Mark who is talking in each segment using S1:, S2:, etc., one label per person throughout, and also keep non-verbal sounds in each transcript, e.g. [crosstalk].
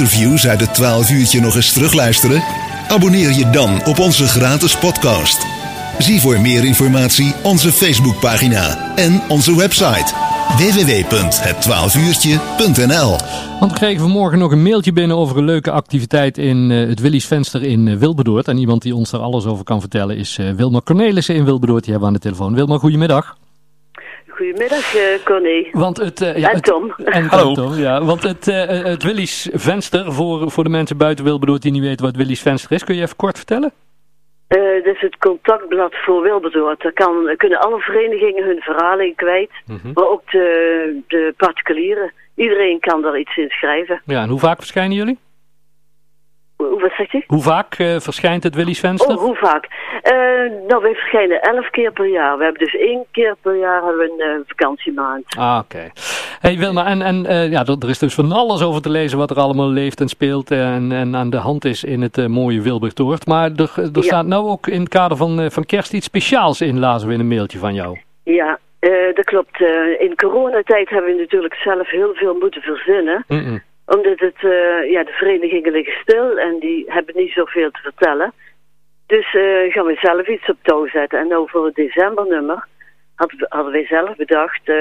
S1: Interviews uit het 12 uurtje nog eens terugluisteren? Abonneer je dan op onze gratis podcast. Zie voor meer informatie onze Facebookpagina en onze website www.het12uurtje.nl
S2: Want we kregen vanmorgen nog een mailtje binnen over een leuke activiteit in eh, het Willys Venster in eh, Wilberdoord. En iemand die ons daar alles over kan vertellen is eh, Wilma Cornelissen in Wilberdoord. Die hebben we aan de telefoon. Wilma, goedemiddag.
S3: Goedemiddag, eh Connie.
S2: Want het, eh, ja,
S3: En
S2: het-
S3: Tom.
S2: en
S4: Hallo.
S2: Tom, ja. Want het, eh, het Willys Venster, voor, voor de mensen buiten Wilberdoord die niet weten wat Willys Venster is, kun je even kort vertellen?
S3: Eh, dit is het contactblad voor Wilberdoord. Daar kan, kunnen alle verenigingen hun verhalen in kwijt, maar ook de, de particulieren. Iedereen kan daar iets in schrijven.
S2: Ja, en hoe vaak verschijnen jullie?
S3: Hoe- Wat zegt u?
S2: Hoe vaak eh, verschijnt het Willys Venster?
S3: Oh, hoe vaak? Eh, nou, wij verschijnen elf keer per jaar. We hebben dus één keer per jaar hebben we een eh, vakantiemaand.
S2: Ah, oké. Hey Wilma, en, en eh, ja, er er is dus van alles over te lezen wat er allemaal leeft en speelt en, en aan de hand is in het eh, mooie Wilbertoort. Maar er, er
S3: Ja.
S2: staat nou ook in het kader van, eh, van kerst iets speciaals in, lazen we in een mailtje van jou.
S3: Ja, eh, dat klopt. Eh, in coronatijd hebben we natuurlijk zelf heel veel moeten verzinnen.
S2: Mm-mm.
S3: Omdat het, eh, ja, de verenigingen liggen stil en die hebben niet zoveel te vertellen. Dus eh, gaan we zelf iets op touw zetten. En nou voor het decembernummer had, hadden wij zelf bedacht... eh,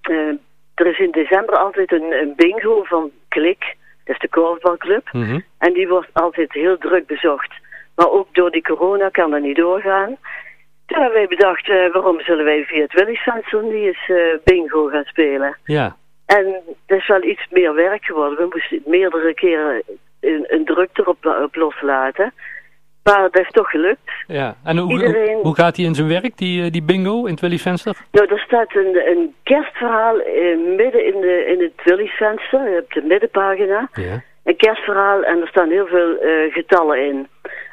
S3: eh, er is in december altijd een, een bingo van Klik, dat is de korfbalclub.
S2: Mhm.
S3: En die wordt altijd heel druk bezocht. Maar ook door die corona kan dat niet doorgaan. Toen hebben wij bedacht, eh, waarom zullen wij via het Willisvenster niet eens eh, bingo gaan spelen?
S2: Ja,
S3: En dat is wel iets meer werk geworden. We moesten meerdere keren een, een druk erop op loslaten. Maar dat is toch gelukt.
S2: ja. En hoe,
S3: Iedereen-
S2: hoe, hoe gaat die in zijn werk, die, eh, die bingo in het Willy's Venster?
S3: Nou, er staat een, een kerstverhaal eh, midden in, de, in het Willyvenster, op de middenpagina.
S2: Ja.
S3: Een kerstverhaal en er staan heel veel eh, getallen in.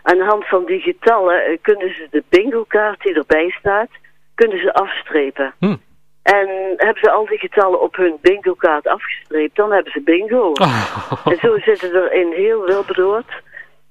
S3: Aan de hand van die getallen eh, kunnen ze de bingo-kaart die erbij staat, kunnen ze afstrepen.
S2: Hm.
S3: En hebben ze al die getallen op hun bingo-kaart afgestreept, dan hebben ze bingo.
S2: Oh.
S3: En zo zitten er in heel Wilberdoord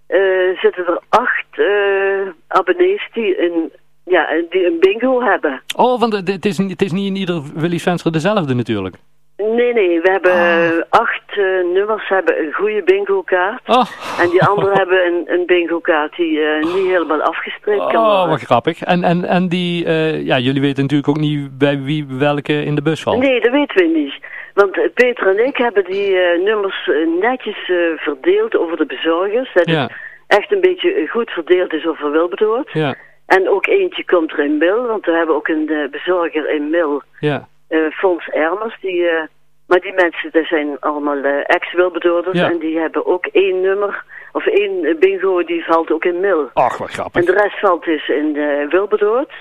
S3: eh, zitten er acht eh, abonnees die een, ja, die een bingo
S2: [laughs]
S3: hebben.
S2: Oh, want het, het is, niet- het is niet in ieder Willy's Venster dezelfde natuurlijk.
S3: Nee, nee, we hebben
S2: Ah.
S3: eh, acht eh, nummers hebben een goede bingo-kaart.
S2: Oh,
S3: En die
S2: [laughs]
S3: anderen hebben een, een bingo-kaart die eh, niet helemaal afgestreept kan
S2: oh
S3: worden.
S2: wat grappig. En, en, en die, eh, ja, jullie weten natuurlijk ook niet bij wie welke in de bus valt.
S3: Nee, dat weten we niet. Want eh, Peter en ik hebben die eh, nummers eh, netjes eh, verdeeld over de bezorgers. Dat
S2: Ja.
S3: het echt een beetje eh, goed verdeeld is over Wilberdoord.
S2: Ja,
S3: En ook eentje komt er in Mil, want we hebben ook een eh, bezorger in Mil,
S2: ja.
S3: eh, Fons Ermers. Die, eh, maar die mensen, dat zijn allemaal eh, ex-wilbedoorders
S2: Ja.
S3: en die hebben ook één nummer, of één eh, bingo, die valt ook in Mil.
S2: Ach, wat
S3: En
S2: grappig.
S3: de rest valt dus in eh Wilberdoord.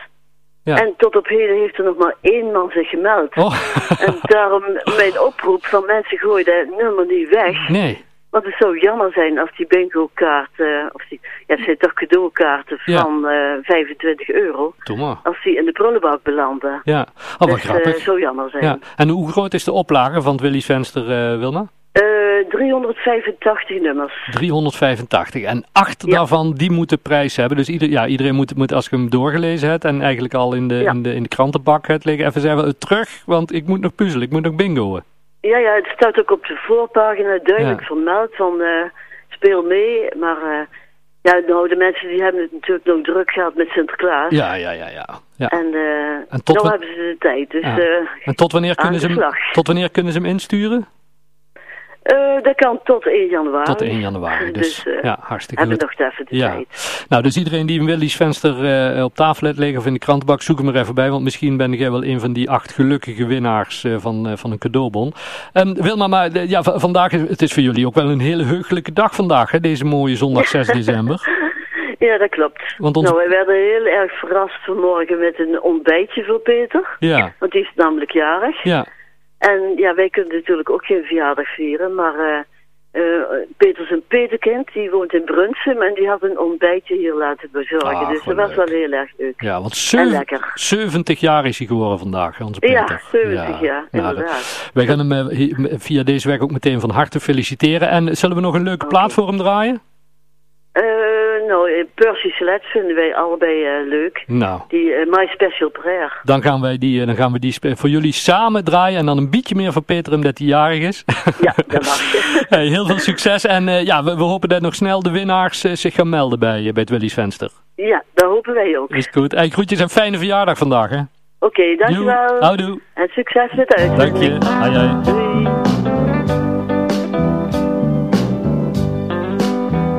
S2: Ja.
S3: En tot op heden heeft er nog maar één man zich gemeld.
S2: Oh, [laughs]
S3: En daarom mijn oproep van mensen gooi dat nummer niet weg.
S2: nee.
S3: Want het zou jammer zijn als die bingo-kaart, eh, of die, ja, het zijn toch cadeaukaarten
S2: Ja.
S3: van eh 25 euro
S2: Doe maar.
S3: als die in de prullenbak belanden.
S2: Ja, oh, wat
S3: dat eh,
S2: grappig.
S3: zou jammer zijn.
S2: Ja. En hoe groot is de oplage van het Willy's Venster, eh, Wilma?
S3: Eh, 385 nummers.
S2: 385. En acht daarvan, die moeten prijs hebben. Dus ieder, ja, iedereen moet, moet, als ik hem doorgelezen heb en eigenlijk al in de,
S3: Ja.
S2: in de, in de krantenbak het liggen, even zeggen, eh, terug, want ik moet nog puzzelen, ik moet nog bingoen.
S3: Ja, ja, het staat ook op de voorpagina duidelijk
S2: Ja.
S3: vermeld van eh, speel mee. Maar eh, ja, nou, de mensen die hebben het natuurlijk nog druk gehad met Sinterklaas.
S2: Ja, ja, ja, ja. ja.
S3: En, eh
S2: En tot
S3: nou
S2: wa-
S3: hebben ze de tijd. Dus
S2: Ja.
S3: eh
S2: En tot wanneer,
S3: aan
S2: kunnen ze
S3: de
S2: hem,
S3: slag.
S2: tot wanneer kunnen ze hem insturen?
S3: eh, dat kan tot 1 januari.
S2: Tot 1
S3: [laughs]
S2: januari. Dus,
S3: Ah, eh,
S2: ja, hartstikke
S3: hebben
S2: leuk.
S3: we nog even de
S2: Ja.
S3: tijd.
S2: Nou, dus iedereen die een Willys venster eh, op tafel heeft liggen of in de krantenbak, zoek hem er even bij. Want misschien ben jij wel een van die acht gelukkige winnaars eh, van, eh, van een cadeaubon. Ehm, Wilma, maar eh, ja, v- vandaag, is- het is voor jullie ook wel een hele heugelijke dag vandaag. Hè? Deze mooie
S3: [laughs]
S2: zondag 6 december.
S3: Ja, dat klopt.
S2: Want ons-
S3: Nou, wij werden heel erg verrast vanmorgen met een ontbijtje voor Peter.
S2: Ja,
S3: Want die is namelijk jarig.
S2: ja,
S3: En ja, wij kunnen natuurlijk ook geen verjaardag vieren. Maar eh eh, Peter zijn peterkind, die woont in Brunsum. En die had een ontbijtje hier laten bezorgen.
S2: Ah,
S3: dus dat
S2: gewoon
S3: was
S2: leuk.
S3: wel heel erg leuk.
S2: ja want
S3: En
S2: zeven-
S3: lekker.
S2: 70 jaar is hij geworden vandaag, onze
S3: Ja,
S2: Peter.
S3: 70 jaar,
S2: Nou, dat-
S3: inderdaad.
S2: wij gaan hem eh, hi- m- via deze weg ook meteen van harte feliciteren. En zullen we nog een leuke plaat voor hem draaien?
S3: Eh, nou, eh, Percy Sledge vinden wij allebei eh, leuk.
S2: Nou,
S3: Die eh, My Special Prayer.
S2: dan gaan wij die, eh, dan gaan we die spe- voor jullie samen draaien. En dan een beetje meer voor Peter, omdat hij jarig is.
S3: Ja, dat mag je.
S2: [laughs] Hey, heel veel succes. En eh, ja, we, we hopen dat nog snel de winnaars eh, zich gaan melden bij, eh, bij het Willy's Venster.
S3: Ja, dat hopen wij ook. Oké,
S2: Is goed. Hey, groetjes en fijne verjaardag vandaag, hè.
S3: dankjewel.
S2: Joe. Houdoe.
S3: En succes met de
S2: Dank
S3: uitzending.
S2: je. Hai, hai.
S3: Doei.